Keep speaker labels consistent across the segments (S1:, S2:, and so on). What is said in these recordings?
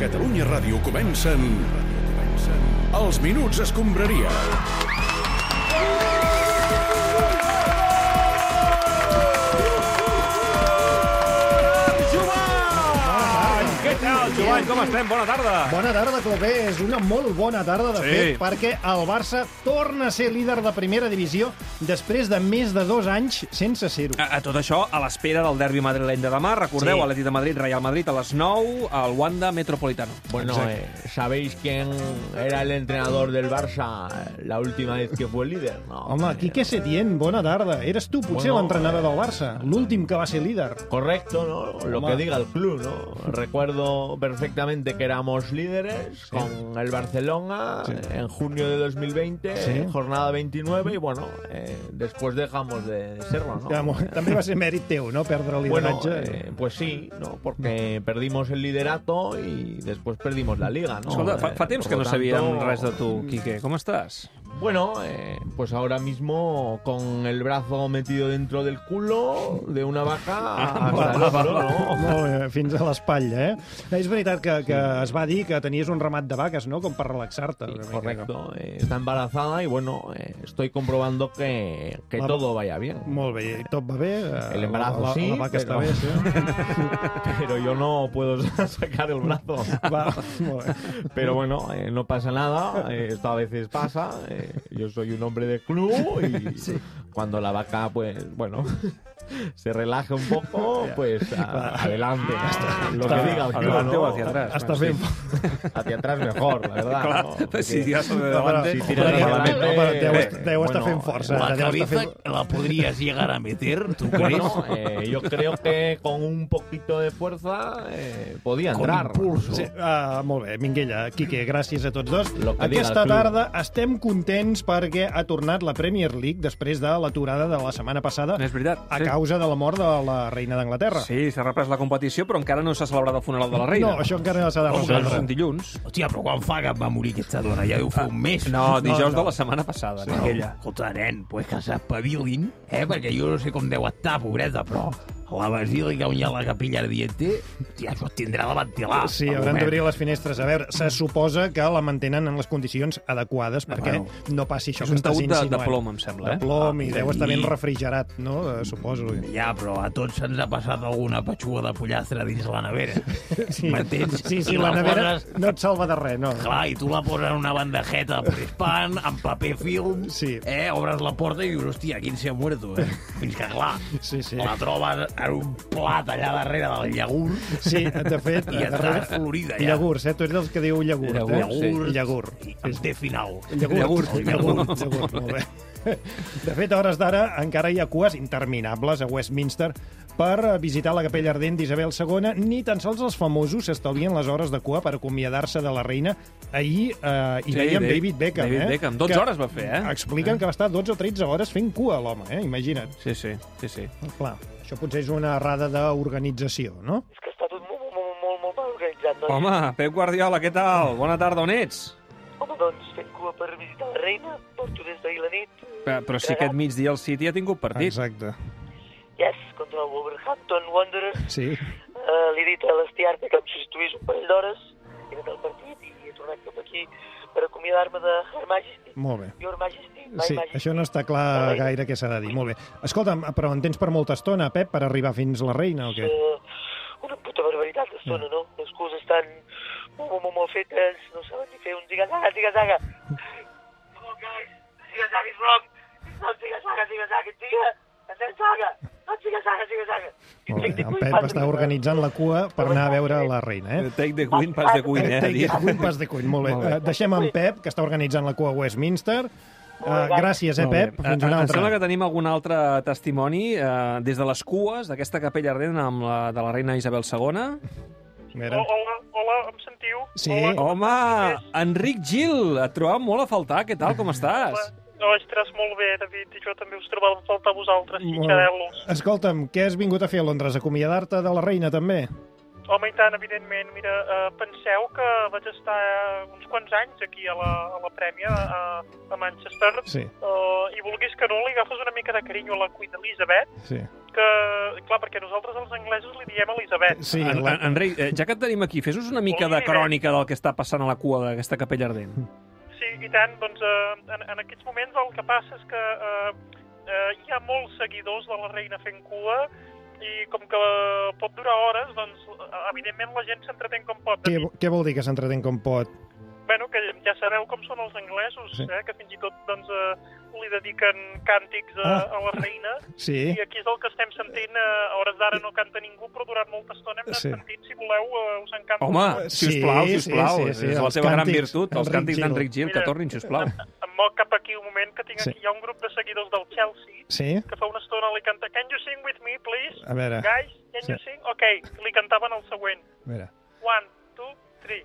S1: Catalunya Ràdio comencen... comencen Els Minuts Escombraria.
S2: Joan! Què tal, Joan? Com estem? Bona tarda.
S3: Bona tarda, Clopé. És una molt bona tarda, de
S2: Sí.
S3: fet, perquè el Barça torna a ser líder de primera divisió després de més de dos anys sense ser-ho.
S2: A, a tot això, a l'espera del derbi madrileny de demà,
S4: Sí.
S2: recordeu, sí. Atleti de Madrid, Real Madrid, a les 9, al Wanda Metropolitano.
S4: Bueno, eh, ¿sabéis quién era el entrenador del Barça la última vez que fue líder? No,
S3: Home,
S4: eh,
S3: Quique Setién, bona tarda. Eres tu,
S4: Bueno,
S3: potser,
S4: eh,
S3: l'entrenador del Barça, l'últim que va ser líder.
S4: Correcto, ¿no? Lo
S3: Home.
S4: que diga el club, ¿no? Recuerdo perfectamente que éramos líderes con el Barcelona en junio de 2020,
S3: Sí.
S4: jornada 29, y bueno, eh, después dejamos de serlo, ¿no? Eh,
S3: Vamos, També va ser mèrit teu, no?, perdre el
S4: Bueno,
S3: lideratge.
S4: eh, pues sí, ¿no? Porque perdimos el liderato y después perdimos la liga, ¿no?
S2: Escolta, fa,
S4: Eh,
S2: fa temps
S4: por
S2: que
S4: lo
S2: no sabíem
S4: tanto, mm,
S2: res de tu, Quique. Com estàs?
S4: Bueno, eh, pues ahora mismo con el brazo metido dentro del culo de una
S2: Ah,
S4: vaca hasta el hombro, ¿no?
S3: Molt bé, fins a l'espatlla, eh? És veritat que, que es va dir que tenies un ramat de vaques, no?, com per relaxar-te. una mica, no?
S4: Correcto, eh, está embarazada y bueno, eh, estoy comprobando que, que
S3: La-
S4: todo vaya bien.
S3: Molt bé, i tot va bé. eh,
S4: El embarazo
S3: la, la,
S4: sí,
S3: la vaca
S4: però-
S3: està bé, sí.
S4: Pero yo no puedo sacar el brazo.
S3: Va, molt bé.
S4: Pero bueno, eh, no pasa nada, eh, esto a veces pasa. eh, yo soy un hombre de club y cuando la vaca, pues bueno, se relaja un poco, pues a- adelante. Lo que diga el club,
S2: Adelante
S4: ¿no?
S2: o hacia atrás.
S3: Està fent
S4: Hacia atrás mejor, la verdad.
S2: Clar,
S4: ¿no? Porque-
S2: si tiras de
S3: Però,
S2: davant...
S4: Sí,
S2: Sí,
S4: tira- tiras
S3: però,
S4: la
S3: però,
S4: maleta,
S3: però, deu,
S2: eh,
S3: estar- deu estar
S4: bueno,
S3: fent força.
S5: La
S3: deu estar
S5: cabeza
S3: fent...
S5: la podrías llegar a meter, ¿tú crees?
S4: Bueno, eh, yo creo que con un poquito de fuerza eh, podía
S5: Con
S4: entrar.
S5: impulso.
S3: Sí, ah, molt bé, Minguella, Quique, gràcies a tots dos.
S4: Lo que diga
S3: Aquesta
S4: el club.
S3: tarda estem contents perquè ha tornat la Premier League després de l'aturada de la setmana passada
S2: És veritat,
S3: a
S2: sí.
S3: causa de la mort de la reina d'Anglaterra.
S2: sí s'ha reprès la competició, però encara no s'ha celebrat el funeral de la reina. doncs,
S3: No, això encara no s'ha de
S2: Com que és
S3: resoldre.
S2: un dilluns.
S5: Hòstia, però quan fa que et va morir aquesta dona? Ja deu fer un mes.
S2: No, dijous
S3: no.
S2: de la setmana passada,
S5: Però,
S2: Quiquella.
S5: Escolta, nen, pues que s'espavilin, eh? Perquè jo no sé com deu estar, pobreta, però a la basílica on hi ha la capilla ardiente, hòstia, això es tindrà de ventilar.
S3: Sí,
S5: al
S3: hauran
S5: moment.
S3: d'obrir les finestres. A veure, se suposa que la mantenen en les condicions adequades perquè
S5: Bueno,
S3: no passi això
S2: és
S3: que
S2: un
S3: estàs
S2: taüt de- de
S3: insinuant.
S2: plom, em sembla, eh?
S3: De plom, i
S5: Ah,
S3: deu estar ben
S5: i-
S3: refrigerat, no? Eh, Suposo.
S5: Ja, però a tots se'ns ha passat alguna petxuga de pollastre dins la nevera.
S3: Sí,
S5: M'entens?
S3: sí, sí
S5: I
S3: la
S5: la
S3: nevera
S5: poses-
S3: no et salva de res, no.
S5: Clar, i tu la poses en una bandejeta prespant, amb paper film,
S3: Sí.
S5: eh, obres la porta i dius, hòstia, quin s'hi ha muerto, eh? Fins que, clar,
S3: Sí, sí.
S5: la trobes en un plat allà darrere del iogurt
S3: Sí, de fet...
S5: i està florida ja.
S3: Iogurts, eh? Tu ets dels que diu iogurt, eh?
S4: Iogurt, sí.
S3: Iogurt.
S5: I amb té final.
S3: Iogurt.
S5: El
S3: Iogurt. Iogurt, molt bé. De fet, a hores d'ara encara hi ha cues interminables a Westminster per eh, visitar la capella ardent d'Isabel II. Ni tan sols els famosos s'estalvien les hores de cua per acomiadar-se de la reina. Ahir eh, hi
S2: Sí,
S3: veiem
S2: David-
S3: David Beckham,
S2: David
S3: eh?
S2: Beckham. 12 hores va fer, eh?
S3: Expliquen que va estar 12 o 13 hores fent cua, l'home, eh? Imagina't.
S2: Sí, sí, sí, sí.
S3: Clar, això potser és una errada d'organització, no?
S6: És que està tot molt, molt, molt, molt mal organitzat. Doncs.
S2: Home, Pep Guardiola, què tal? Bona tarda, on ets?
S6: Home, doncs, fent cua per visitar la reina, porto des d'ahir la nit.
S2: Però, però sí que aquest migdia el City ha tingut partit.
S3: Exacte.
S6: Yes, contra el Wolverhampton Wanderers.
S3: Sí.
S6: Uh, li he dit a l'Estiarte que em substituís un parell d'hores. He anat al partit i he tornat cap aquí per acomiadar-me de Her Majesty.
S3: Molt bé.
S6: Your Majesty, my
S3: Sí,
S6: Majesty.
S3: això no està clar gaire què s'ha de dir. Molt bé. Escolta'm, però en tens per molta estona, Pep, per arribar fins la reina o què?
S6: Eh, una puta barbaritat d'estona, no? Les cues estan molt, molt, molt, molt fetes, no saben ni fer un zigazaga, zigazaga. Come on, guys, zigazaga is wrong. It's not zigazaga, zigazaga, it's ziga, and then zaga. Not zigazaga, zigazaga.
S3: Molt bé. El Pep està organitzant la cua per anar a veure la reina, eh?
S2: Take the win, pas de cuin, eh? ha dit.
S3: Un pas de cull, molt bé. Eh, Deixem en Pep, que està organitzant la cua a Westminster. Eh, gràcies, eh,
S2: Molt bé.
S3: Pep? Fins
S2: Eh,
S3: una
S2: Em sembla
S3: altra.
S2: que tenim algun altre testimoni eh, des de les cues d'aquesta capella ardent amb la, de la reina Isabel II.
S3: Mira.
S6: hola, hola, em sentiu?
S3: Sí. Hola.
S2: Home, Enric Gil, et trobàvem molt a faltar. Què tal, com estàs?
S6: Ostres, molt bé, David, i jo també us trobava a faltar a vosaltres,
S3: Molt bé. Escolta'm, què has vingut a fer a Londres? Acomiadar-te de la reina, també?
S6: Home, i tant, evidentment. Mira, eh, penseu que vaig estar eh, uns quants anys aquí a la, a la prèmia, a, a Manchester,
S3: Sí,
S6: eh, i vulguis que no, li agafes una mica de carinyo a la Queen Elizabeth,
S3: sí.
S6: que... Clar, perquè nosaltres els anglesos li diem Elisabet.
S3: Sí,
S2: En, en, Enric, eh, ja que et tenim aquí, fes-nos una mica de crònica del que està passant a la cua d'aquesta capella ardent.
S3: Eh,
S6: Sí, i tant. Doncs eh, en, en aquests moments el que passa és que eh, eh, hi ha molts seguidors de la reina fent cua i com que eh, pot durar hores, doncs eh, evidentment la gent s'entretén com pot.
S3: Què, què vol dir que s'entretén com pot?
S6: Bueno, que ja sabeu com són els anglesos,
S3: Sí.
S6: eh, que fins i tot doncs, eh, li dediquen càntics a,
S3: Ah.
S6: a la reina.
S3: Sí,
S6: I aquí és el que estem sentint. eh, A hores d'ara no canta ningú, però durant molta estona hem anat
S3: Sí.
S6: sentint, si voleu, eh, us en canto.
S2: Home,
S6: un.
S2: si
S3: Sí,
S2: us plau, si us
S3: sí,
S2: plau,
S3: sí, sí,
S2: és la
S3: els
S2: teva gran
S3: càntics,
S2: virtut, els
S3: Enric
S2: càntics
S3: Gil.
S2: d'Enric Gil, que
S6: Mira.
S2: tornin, si us plau.
S6: Em moc cap aquí un moment, que tinc
S3: Sí.
S6: aquí, hi ha un grup de seguidors del Chelsea,
S3: sí.
S6: que fa una estona li canta Can you sing with me, please?
S3: A veure,
S6: Guys, can you
S3: Sí.
S6: sing? Ok, li cantaven el següent.
S3: a veure.
S6: One, two, three.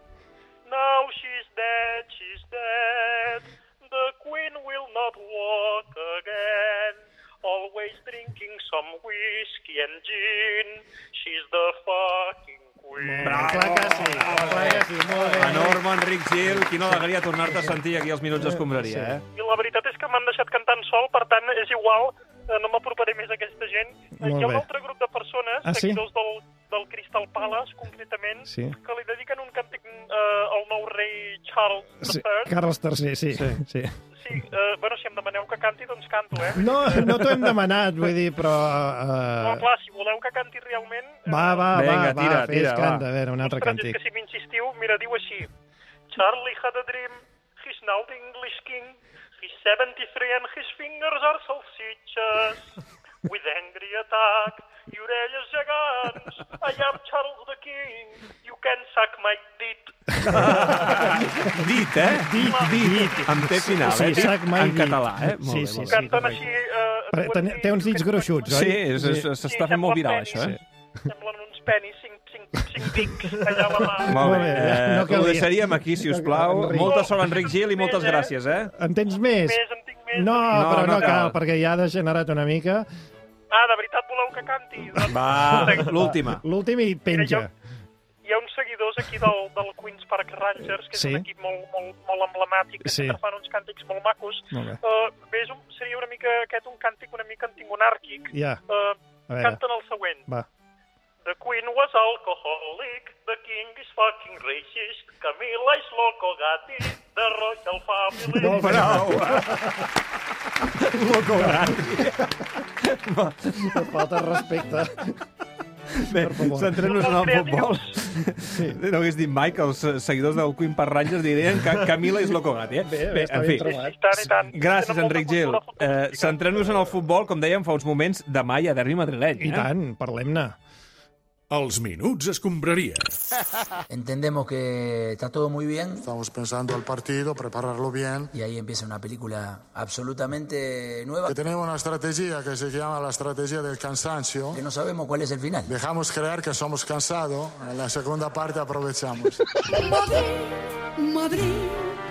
S6: Now she's dead, she's dead. The queen will not walk again. Always drinking some whiskey and gin. She's the fucking queen.
S3: Ah, Clar que sí,
S2: Ah,
S3: clar que sí, molt bé.
S2: Enorme, Enric Gil, quina alegria tornar-te a sentir aquí als minuts d'escombraria, eh?
S6: I la veritat és que m'han deixat cantant sol, per tant, és igual, eh, no m'aproparé més a aquesta gent. Eh,
S3: Molt
S6: Hi ha
S3: bé.
S6: un altre grup de persones,
S3: Ah, sí?
S6: seguidors del, del Crystal Palace, concretament,
S3: Sí.
S6: que li dediquen un càntic eh, al nou rei Charles
S3: Sí,
S6: III.
S3: Carles III, sí. sí. sí.
S6: Sí, eh, bueno, si em demaneu que canti, doncs canto, eh?
S3: No, no t'ho hem demanat, vull dir, però...
S6: Però,
S3: Uh,
S6: clar, si voleu que canti realment... eh,
S3: va, va, va,
S2: Vinga,
S3: va,
S2: tira,
S3: fes
S2: tira,
S3: canta,
S2: va.
S3: a veure, un altre
S6: Ostres, és
S3: càntic.
S6: que si m'insistiu, mira, diu així. Charlie had a dream, he's now the English king, he's 73 and his fingers are salsitxes. With angry attack i orelles gegants, I am Charles the king, you can suck my dit.
S2: Dit, eh? Dit, dit. Amb té final,
S3: Sí,
S2: eh? Dit
S3: sac mai
S2: en
S3: dit.
S2: català, eh?
S3: Sí,
S2: Molt
S3: sí,
S2: bé, molt
S3: sí.
S2: bé.
S6: Canten així... Eh, dues
S3: Però ten-
S6: nits,
S3: té uns dits
S6: aquests
S3: grossuts,
S2: Sí,
S3: oi?
S2: és- és- s'està fent molt viral, això, eh?
S6: Semblen uns penis, cinc, cinc, cinc dics allà a la mà.
S2: Molt bé,
S3: Molt bé,
S2: eh,
S3: no
S2: ho
S3: calia.
S2: deixaríem aquí, si us plau.
S3: Enric.
S2: Molta sort, Enric Gil, i moltes gràcies, eh?
S3: En tens més?
S6: Més, en tinc més.
S3: No, però
S2: no
S3: no
S2: cal.
S3: cal, perquè ja ha degenerat una mica.
S6: Ah, de veritat voleu que canti? Doncs,
S2: Va,
S6: escolta,
S2: l'última.
S3: L'últim i penja.
S6: hi ha uns seguidors aquí del, del Queens Park Rangers, que és
S3: Sí.
S6: un equip molt, molt, molt emblemàtic, que
S3: Sí.
S6: sí. fan uns càntics molt macos.
S3: Molt bé.
S6: Uh, bé, és un, seria una mica aquest un càntic una mica antimonàrquic.
S3: Ja,
S6: Uh,
S3: a veure,
S6: canten el següent.
S3: va.
S6: The queen was alcoholic, the king is fucking racist, Camila is loco gati, the royal family...
S3: Molt bé.
S2: Prou. Loco,
S3: Falta respecte.
S2: Bé,
S3: Per favor.
S2: centrem-nos en el futbol.
S3: Sí.
S2: No hagués dit mai que els eh, seguidors del Queen per Rangers dirien que Camila és Locogat, eh?
S3: Bé, bé, està
S2: en
S3: ben
S2: fi.
S3: trobat.
S6: I tant, i tant.
S2: Gràcies,
S6: Tenen molta
S2: Enric Gil.
S6: cultura
S2: Eh,
S6: futbolística.
S2: Centrem-nos en el futbol, com dèiem fa uns moments, demà hi ha derbi madrileny.
S3: I
S2: eh?
S3: tant, parlem-ne.
S7: Els minuts escombraria.
S8: Entendemos que está todo muy bien
S9: Estamos pensando al partido, prepararlo bien.
S8: y ahí empieza una película absolutamente nueva
S9: Que tenemos una estrategia que se llama la estrategia del cansancio.
S8: que no sabemos cuál es el final.
S9: Dejamos creer que somos cansados. En la segunda parte aprovechamos.
S10: Madrid,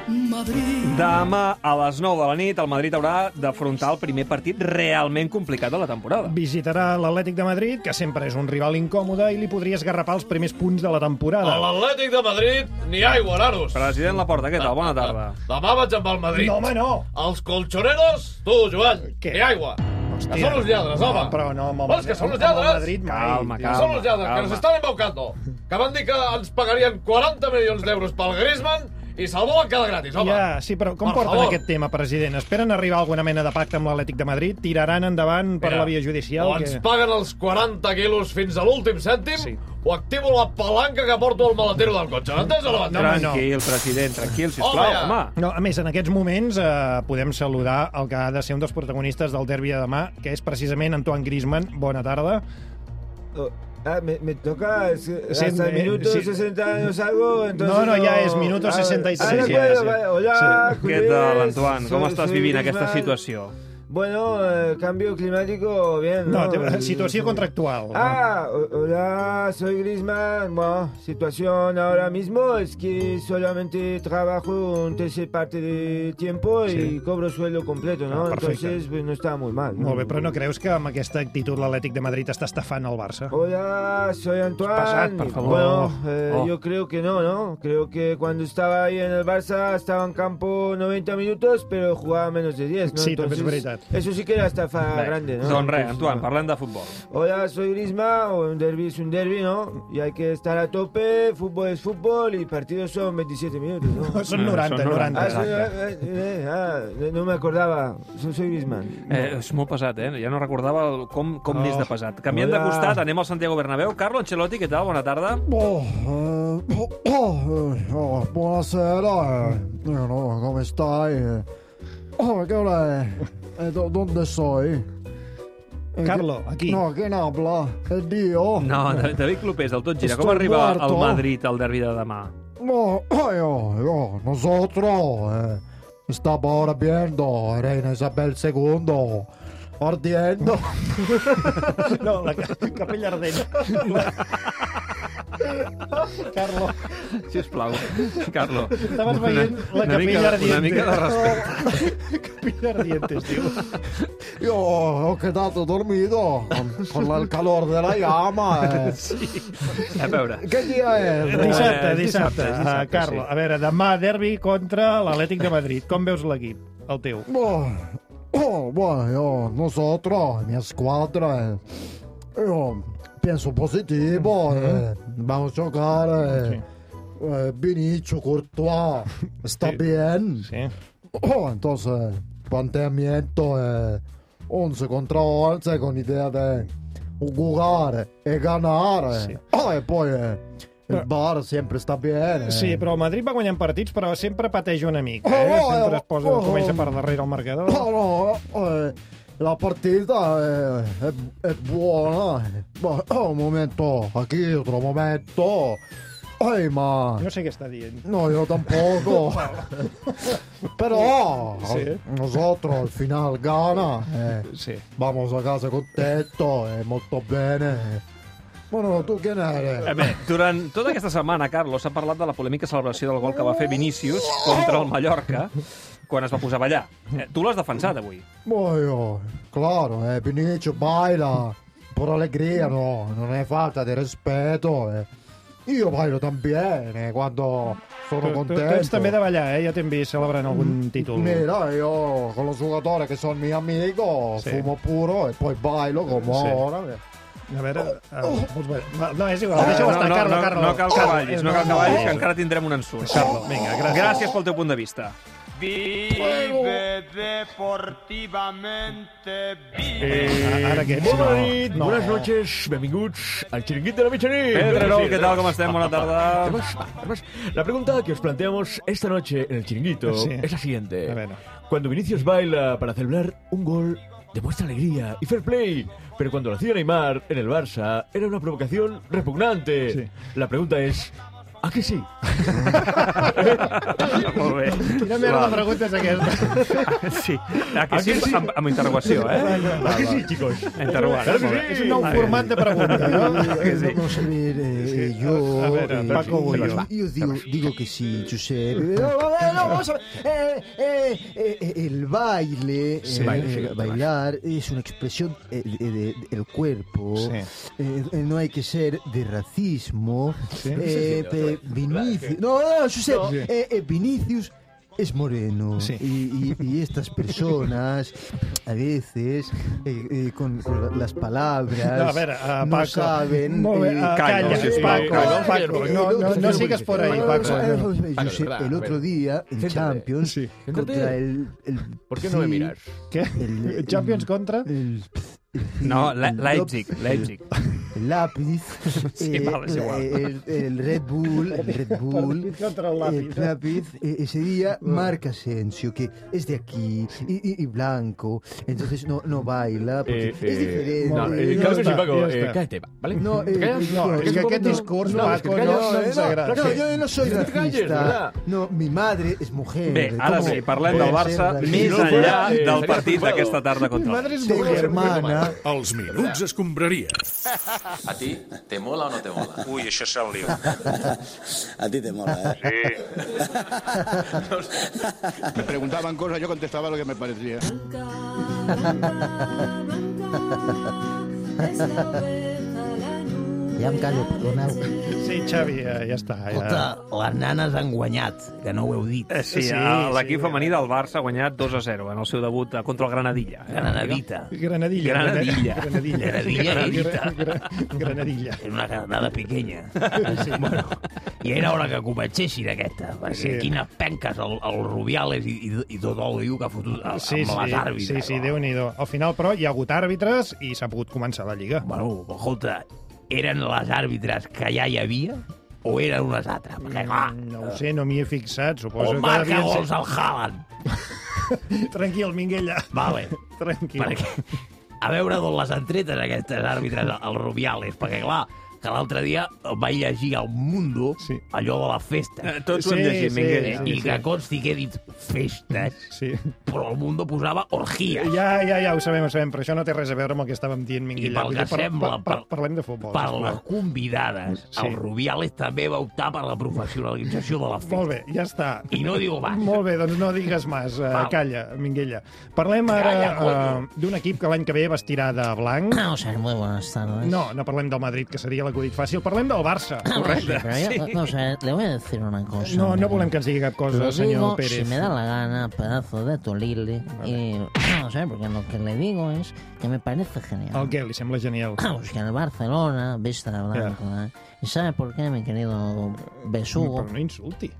S10: Madrid.
S2: Demà a les 9 de la nit el Madrid haurà d'afrontar el primer partit realment complicat de la temporada.
S3: Visitarà l'Atlètic de Madrid, que sempre és un rival incòmode i li podria esgarrapar els primers punts de la temporada.
S4: A l'Atlètic de Madrid, ni aigua, nanos.
S2: President Laporta, què tal? Bona tarda.
S4: ah. Demà vaig amb el Madrid.
S3: No, home, no!
S4: Els colchoneros, tu, Joan,
S3: Què?
S4: ni aigua. Que són uns lladres,
S3: no,
S4: home.
S3: Però no, amb el,
S4: Vols que són uns
S3: amb el
S4: lladres?
S3: Madrid, mai.
S2: Calma,
S4: Que
S2: calma.
S4: són uns lladres, que
S2: calma.
S4: ens estan embaucando. Que van dir que ens pagarien 40 milions d'euros pel Griezmann i se'l volen quedar gratis, home.
S3: Ja, sí, però com
S4: Per
S3: porten
S4: favor.
S3: aquest tema, president? Esperen arribar a alguna mena de pacte amb l'Atlètic de Madrid? Tiraran endavant per
S4: Mira,
S3: la via judicial?
S4: O ens
S3: que...
S4: paguen els 40 quilos fins a l'últim cèntim,
S3: Sí.
S4: o activo la palanca que porto al maletero del cotxe. Entens o no m'entens?
S3: No, home, no.
S2: Tranquil, president, tranquil, sisplau,
S4: Home, ja.
S2: home.
S3: No, a més, en aquests moments eh, podem saludar el que ha de ser un dels protagonistes del derbi de demà, que és precisament Antoine Griezmann. Bona tarda.
S11: Ah, me, me toca es- hasta
S3: eh,
S11: el minuto
S3: sí.
S11: 60 años algo, Oh, entonces...
S3: No, no, ya es minuto
S11: Ah,
S3: 66,
S11: ah, de
S3: sí,
S11: acuerdo,
S3: sí.
S11: vale. Hola,
S3: Sí.
S2: Què
S11: culés,
S2: tal, Antoine? Com
S11: soy-
S2: estàs
S11: soy
S2: vivint aquesta
S11: Griezmann.
S2: situació?
S11: Bueno, eh, cambio climático, bien,
S3: No,
S11: ¿no?
S3: té- situació contractual.
S11: Ah, ho- hola, soy Griezmann. Bueno, situación ahora mismo es que solamente trabajo un tercer parte de tiempo y
S3: Sí.
S11: cobro sueldo completo, ¿no?
S3: Ah, perfecto.
S11: Entonces, pues no está muy mal. ¿no?
S3: Molt bé, però no creus que amb aquesta actitud l'Atlètic de Madrid està estafant el Barça?
S11: Hola, soy Antoine.
S3: Pasad, por favor.
S11: Bueno, eh,
S2: Oh.
S11: yo creo que no, ¿no? Creo que cuando estaba ahí en el Barça estaba en campo 90 minutos, pero jugaba menos de 10, ¿no?
S3: Sí, també és veritat. veritat.
S11: Eso sí que era estafa
S2: Bé,
S11: grande, ¿no?
S2: Doncs res, Antoine, parlem de futbol.
S11: Hola, soy Risma, o un derby es un derby, ¿no? Y hay que estar a tope, fútbol es fútbol y partidos son 27 minutos, ¿no?
S3: Son No, 90, son 90.
S11: Ah, son- eh, eh, ah, no- no me acordaba, soy, soy Griezmann.
S2: Eh, és molt pesat, eh? Ja no recordava el, com, com
S11: Oh.
S2: oh. n'és de pesat. Canviem de
S11: Hola.
S2: costat, anem al Santiago Bernabéu. Carlo Ancelotti, què tal? Bona tarda.
S12: Oh, eh, oh, oh, eh, oh, buonasera, eh, no, come stai? Eh, Oh, che ora è? Eh, do- dove sei? Eh,
S3: Carlo,
S12: chi-
S3: aquí.
S12: No, chi ne habla? È Dio?
S2: No, Da- David Clopés, del Tot Gira. Com
S12: Estoy
S2: arriba
S12: muerto.
S2: al Madrid al derbi de demà?
S12: No, oh, io, io, nosotros, eh, stavo ora viendo Reina Isabel II, ardiendo.
S3: No, la ca- capella ardent. Carlo.
S2: Si us plau, Carlo.
S3: Estaves veient la
S2: una mica,
S3: capella ardiente.
S2: Una mica de respecte.
S3: capella ardiente, tio.
S12: Io ho quedato dormito con, con il calore della llama. Eh.
S2: A veure.
S12: Che dia è?
S3: Dissabte,
S12: Eh,
S3: dissabte.
S12: dissabte,
S3: Ah,
S12: dissabte,
S3: Carlo,
S12: sí.
S3: a veure, demà derbi contra l'Atlètic de Madrid. Com veus l'equip, el teu?
S12: Oh, oh, bueno, io, nosotros, mia squadra, eh, io penso positivo, eh, vamo a giocare, eh, Vinicio, Courtois, sta bien. Oh, entonces, planteamiento eh, 11 contro 11 con idea di jugare e ganare. Ah, e poi eh, il bar sempre sta bene. eh.
S3: Sí, però el Madrid va guanyant partits, però sempre pateix una mica.
S12: Oh,
S3: Eh?
S12: oh,
S3: Sempre
S12: oh,
S3: es posa,
S12: oh,
S3: comença
S12: oh.
S3: per darrere el marcador.
S12: No, no, eh, la partita è, è- è buona, eh. ma è un momento, aquí otro momento. Ehi, ma...
S3: No sé què està dient.
S12: No, io tampoco. Però
S3: Sì.
S12: nosotros al final Ghana eh, vamos a casa contento e molto bene. Bueno, tu che ne
S2: Eh,
S12: eri?
S2: bé, durant tota aquesta setmana, Carlos, s'ha parlat de la polèmica celebració del gol que va fer Vinícius contra el Mallorca quan es va posar a ballar. Eh, tu l'has defensat avui.
S12: Muoio, Boh, claro, eh, Vinicio baila por alegría, no, non è falta di rispetto. eh. Io bailo también eh, quando
S3: Tu,
S12: sono
S3: tu, tu ets
S12: contento.
S3: també de ballar, eh? Ja t'hem vist celebrant algun títol.
S12: Mira, io con lo giocatore che sono mio amico,
S3: Sì.
S12: fumo puro e poi bailo come
S3: Sì.
S12: ora. eh. Oh.
S3: A veure... A... vols ballar? Va, Ah, doncs No, és igual, deixa-ho
S2: Eh, no,
S3: estar,
S2: no,
S3: Carlo,
S2: no,
S3: Carlo.
S2: No cal que ballis, no cal que ballis, que
S3: Oh.
S2: encara tindrem un ensurt. Oh. Carlo, vinga, gràcies. Gràcies pel teu punt de vista.
S13: Vive deportivamente,
S2: Eh, ara què?
S13: Molt bona
S2: No,
S13: nit,
S2: no.
S13: bones noches, benvinguts al Chiringuit de la Mitjanit.
S2: Pedro Herol,
S13: Buenos
S2: què
S13: días.
S2: tal, com estem? Bona tarda.
S13: Además, además, La pregunta que os planteamos esta noche en el Chiringuito
S2: Sí.
S13: es la siguiente.
S2: A ver.
S13: Cuando Vinicius baila para celebrar un gol, demuestra alegría y fair play. Pero cuando lo hacía Neymar en el Barça, era una provocación repugnante. La pregunta es... ¿A que sí?
S2: Molt bé.
S3: Quina merda de pregunta és aquesta?
S2: Sí, aquí Ah, sí, amb, amb interrogació, eh?
S13: ¿A que sí, chicos?
S2: Interrogant.
S13: Claro que
S2: molt bé.
S13: sí.
S3: És un nou format de pregunta, no?
S12: Vamos a ver, eh, yo,
S3: a ver, a
S12: eh,
S3: ver, Paco
S12: yo-
S3: Bullo.
S12: yo digo, digo que sí, Giuseppe. No, no, no, vamos a ver. Eh, eh, eh, eh, el baile,
S14: Sí.
S12: eh,
S14: Baile, sí,
S12: eh, bailar es una expresión eh, de- de- del cuerpo.
S14: Sí.
S12: Eh, eh, no hay que ser de racismo.
S14: Sí.
S12: Eh,
S14: Sí, sí,
S12: eh, Vinicius. No, no, no, Giuseppe. eh, eh, Vinicius. Es moreno y, y- y estas personas a veces eh, eh, con, con la- las palabras
S3: No, a ver, ah,
S12: no
S3: Paco.
S12: saben
S3: Molt bé,
S12: eh,
S3: ah, calla,
S12: callar.
S3: sisplau, calla. Paco, no, no, no sigas por ahí, Paco.
S12: Paco,
S3: Paco,
S12: Josep,
S3: verdad,
S12: el
S3: a
S12: otro
S3: ver.
S12: día en
S3: Céntrate.
S12: Champions
S3: Sí.
S12: contra
S3: Céntrate.
S12: el, el-
S3: ¿Por qué no me
S12: sí,
S3: miras? ¿Qué?
S12: el-
S3: Champions contra?
S2: No, Le- Leipzig, Leipzig.
S12: El lápiz, eh,
S2: Sí, vale, es igual.
S12: el, el Red Bull, el Red Bull,
S3: Partido contra el
S12: el
S3: lápiz.
S12: lápiz, eh, ese día marca Asensio, que es de aquí y, y- y blanco, entonces no, no baila, porque
S13: Eh,
S12: es
S13: eh,
S12: diferente.
S13: no, eh,
S12: Ya
S13: claro que sí,
S12: está,
S13: Paco,
S12: ya
S13: eh,
S12: está.
S13: cállate, ¿vale?
S12: No,
S13: ¿Te
S12: eh,
S13: callas?
S12: no,
S13: No,
S12: es que
S13: es que
S12: aquel
S13: no,
S12: discurso,
S13: no, es que te
S12: Paco,
S13: calles, no,
S12: no, eh,
S13: no,
S12: no,
S13: claro
S12: no,
S13: que-
S12: yo no soy
S13: que te calles,
S12: racista.
S13: ¿verdad?
S12: No, mi madre es mujer.
S2: Bé, ara
S12: ¿cómo
S2: sí, parlem del
S12: puede ser
S2: Barça
S12: racista?
S2: més enllà del partit d'aquesta
S1: Mi
S2: tarda contra el
S1: madre es
S12: Tengo
S1: mujer.
S12: hermana.
S1: Els minuts escombraria.
S15: A ti te mola o no te mola? Ui, això serà un lío.
S16: A ti te mola, ¿eh?
S17: Me preguntaban cosas, yo contestaba lo que me parecía.
S12: Sí.
S18: Ja em callo, perdoneu.
S3: Sí, Xavi, ja, ja està. Ja.
S5: Escolta, les nanes han guanyat, que no ho heu dit.
S2: Eh, Sí, sí l'equip sí, femení del Barça ha guanyat 2 a 0 en el seu debut eh, contra el Granadilla.
S5: Granadita.
S3: Granadilla.
S5: Granadilla.
S3: Granadilla.
S5: Granadilla. Granadilla.
S3: Granadilla.
S5: Era una granada pequeña. Sí. Bueno, I era hora que comencessin aquesta, perquè
S3: Sí.
S5: sí. quines penques el, el Rubiales i, i, i tot el diu que ha fotut a,
S3: Sí,
S5: amb les
S3: sí,
S5: àrbitres.
S3: sí, sí Déu-n'hi-do. Al final, però, hi ha hagut àrbitres i s'ha pogut començar la Lliga.
S5: Bueno, escolta, eren les àrbitres que ja hi havia o eren unes altres? Perquè, clar,
S3: Mm, No ho sé, no m'hi he fixat. Suposo
S5: o
S3: que
S5: marca
S3: devien ser-
S5: gols al Haaland.
S3: Tranquil, Minguella.
S5: Vale.
S3: Tranquil.
S5: Perquè, a veure d'on les han tret aquestes àrbitres, els Rubiales, perquè clar, que l'altre dia vaig llegir al Mundo sí. allò de la festa. Eh,
S2: Eh, tots ho hem Sí, llegit, sí, Minguell. sí,
S5: I
S2: sí.
S5: que consti que he dit festes,
S3: sí.
S5: però el Mundo posava orgia.
S3: Ja, ja, ja, ho sabem, ho sabem, però això no té res a veure amb el que estàvem dient, Minguella.
S5: I pel
S3: Vull
S5: que
S3: dir, par-
S5: sembla,
S3: par- par- parlem de futbol.
S5: Per
S3: sisplau.
S5: les convidades,
S3: Sí.
S5: sí. el Rubiales també va optar per la professionalització de la festa.
S3: Molt bé, ja està.
S5: I no digo más.
S3: Molt bé, doncs no digues més. Uh,
S5: Val.
S3: calla, Minguella. Parlem ara
S5: Calla,
S3: uh, d'un equip que l'any que ve vestirà de blanc. No, ser Ah, muy buenas tardes. Ah, No, no parlem del Madrid, que seria l'acudit fàcil. Parlem del Barça.
S14: Sí, pero yo- no sé, le voy a decir una cosa.
S3: No,
S14: mira.
S3: no volem que ens digui cap cosa,
S14: Lo
S3: senyor
S14: digo
S3: Pérez.
S14: si me da la gana, pedazo de Tolili. Y no sé, porque lo que le digo es que me parece genial. Ah,
S3: El què? Li sembla genial.
S14: Pues que el Barcelona, vista de blanco, ¿eh? ¿Y sabe por qué, mi querido besugo?
S3: Pero no insulti.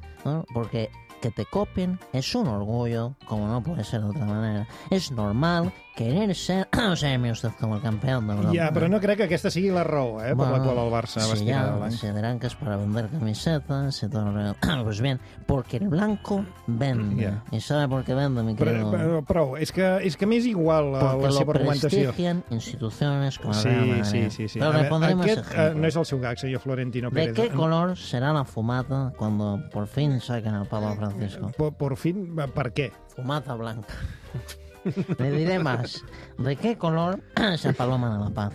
S14: Porque que te copien es un orgullo, como no puede ser de otra manera. Es normal querer ser, no sé, mire usted, como el campeón de Europa.
S3: Ja, però no crec que aquesta sigui la raó, eh, per la qual el Barça
S14: si
S3: vestirà
S14: ya
S3: de blanc.
S14: se dirán que es para vender camisetas y todo lo demás. Pues bien, porque el blanco vende.
S3: Ya.
S14: ¿Y sabe por qué vende, mi
S3: Però,
S14: querido?
S3: però, prou, és que, és que m'és igual la,
S14: porque
S3: la
S14: lo
S3: seva argumentació.
S14: prestigian instituciones como el
S3: Sí,
S14: Real Madrid.
S3: sí, sí. sí.
S14: Pero
S3: A
S14: le
S3: veure,
S14: pondré más
S3: aquest eh,
S14: ejemplos.
S3: no és el seu gag, senyor Florentino
S14: ¿De
S3: Pérez. eh?
S14: qué color será la fumata cuando por fin saquen al Papa Francisco?
S3: Por, fin, ¿para qué?
S14: Fumata blanca. Le diré más. ¿De qué color es el paloma de la paz?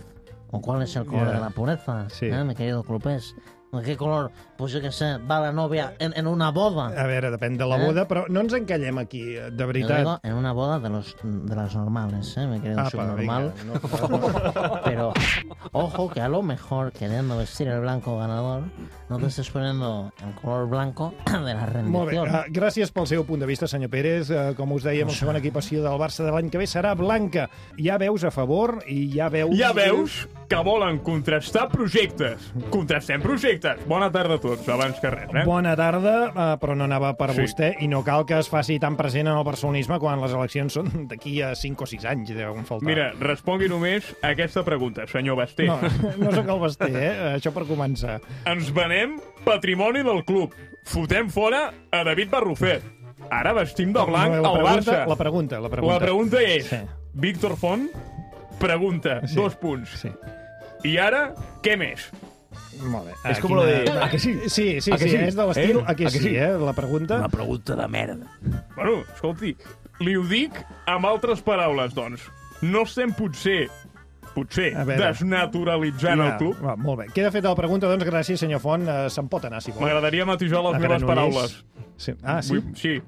S14: ¿O cuál es el color
S19: Ya.
S14: de la pureza?
S19: Sí.
S14: ¿Eh, mi querido Clupés? ¿De qué color, pues yo qué sé, va la novia en, en una boda?
S3: A veure, depèn de la
S14: Eh?
S3: boda, però no ens encallem aquí, eh, de
S14: Yo
S3: veritat. Ah,
S14: digo, en una boda de, los, de las normales, ¿eh? mi querido
S3: Apa,
S14: subnormal.
S3: vinga,
S14: Pero ojo que a lo mejor queriendo vestir el blanco ganador, no
S3: Mm.
S14: te estés poniendo el color blanco de la rendición.
S3: Molt bé, uh, gràcies pel seu punt de vista, senyor Pérez. Uh, com us dèiem, la segona equipació del Barça de l'any que ve serà blanca. Ja veus a favor i ja veus...
S20: Ja veus que volen contrastar projectes. Contrastem projectes. Bona tarda a tots, abans que res, eh?
S3: Bona tarda, eh, però no anava per
S20: Sí.
S3: vostè i no cal que es faci tan present en el barcelonisme quan les eleccions són d'aquí a 5 o 6 anys, deuen faltar.
S20: Mira, respongui només a aquesta pregunta, senyor Basté.
S3: No, no sóc el Basté, eh? Això per començar.
S20: Ens venem patrimoni del club. Fotem fora a David Barrufet. Ara vestim de blanc
S3: No,
S20: al
S3: pregunta,
S20: Barça.
S3: La pregunta, la pregunta.
S20: La pregunta és,
S3: Sí.
S20: Víctor Font pregunta,
S3: Sí.
S20: dos punts.
S3: Sí.
S20: I ara, què més?
S3: Molt bé.
S20: És
S3: Ah,
S20: com
S3: quina-
S20: lo de, "A que sí?
S3: Sí, sí,
S20: A que
S3: sí,
S20: sí?"
S3: és de l'estil
S20: Eh?
S3: a que,
S20: A que
S3: sí,
S20: sí?
S3: eh? La pregunta...
S5: Una pregunta de merda.
S20: Bueno, escolti, li ho dic amb altres paraules, doncs. No estem potser, potser,
S3: A veure.
S20: desnaturalitzant el club.
S3: Va, molt bé. Queda feta la pregunta, doncs gràcies, senyor Font. Eh, Se'n pot anar, si vol.
S20: M'agradaria matisar les
S3: A
S20: meves
S3: Granollers.
S20: paraules.
S3: Sí. Ah, sí?
S20: Vull, sí,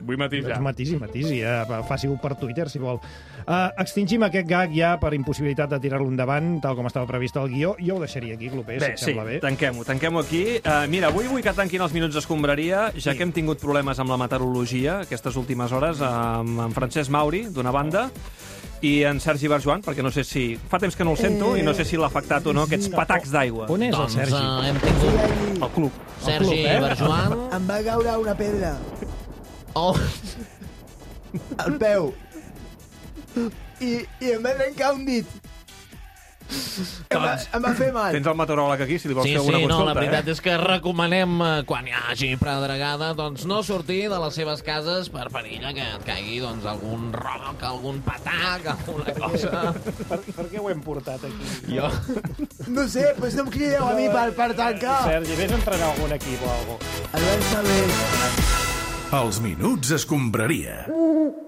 S20: vull matisar.
S3: Doncs matisi, matisi, eh? Va, faci-ho per Twitter, si vol. Uh, extingim aquest gag ja per impossibilitat de tirar-lo endavant, tal com estava previst al guió. Jo ho deixaria aquí, Clopés, si
S2: Bé,
S3: et
S2: sí,
S3: sembla bé.
S2: tanquem-ho, tanquem-ho aquí. Uh, mira, avui vull que tanquin els minuts d'escombraria, ja que hem tingut problemes amb la meteorologia aquestes últimes hores, amb en Francesc Mauri, d'una banda, i en Sergi Barjoan, perquè no sé si... Fa temps que no el sento
S3: Eh,
S2: i no sé si l'ha afectat o no aquests
S3: no.
S2: patacs d'aigua.
S3: On és el
S2: doncs,
S3: Sergi?
S2: eh,
S3: hem
S2: tingut... El club.
S3: Sergi
S2: el club, eh?
S21: Em va caure una pedra. Oh. Al peu. I, I em va trencar un dit. Em va, em va fer mal.
S2: Tens el meteoròleg aquí, si li vols
S22: Sí,
S2: fer alguna
S22: sí, no,
S2: consulta.
S22: la veritat
S2: eh?
S22: és que recomanem, eh, quan hi hagi pedregada, doncs no sortir de les seves cases per perill que et caigui doncs, algun roc, algun patac, alguna cosa.
S21: Ah.
S3: Per, per què ho hem portat aquí?
S22: Jo...
S21: No sé, pues no em crideu a mi per, per tancar.
S3: Sergi, vés a entrenar algun equip o alguna
S21: cosa.
S1: Els minuts escombraria.
S21: Albert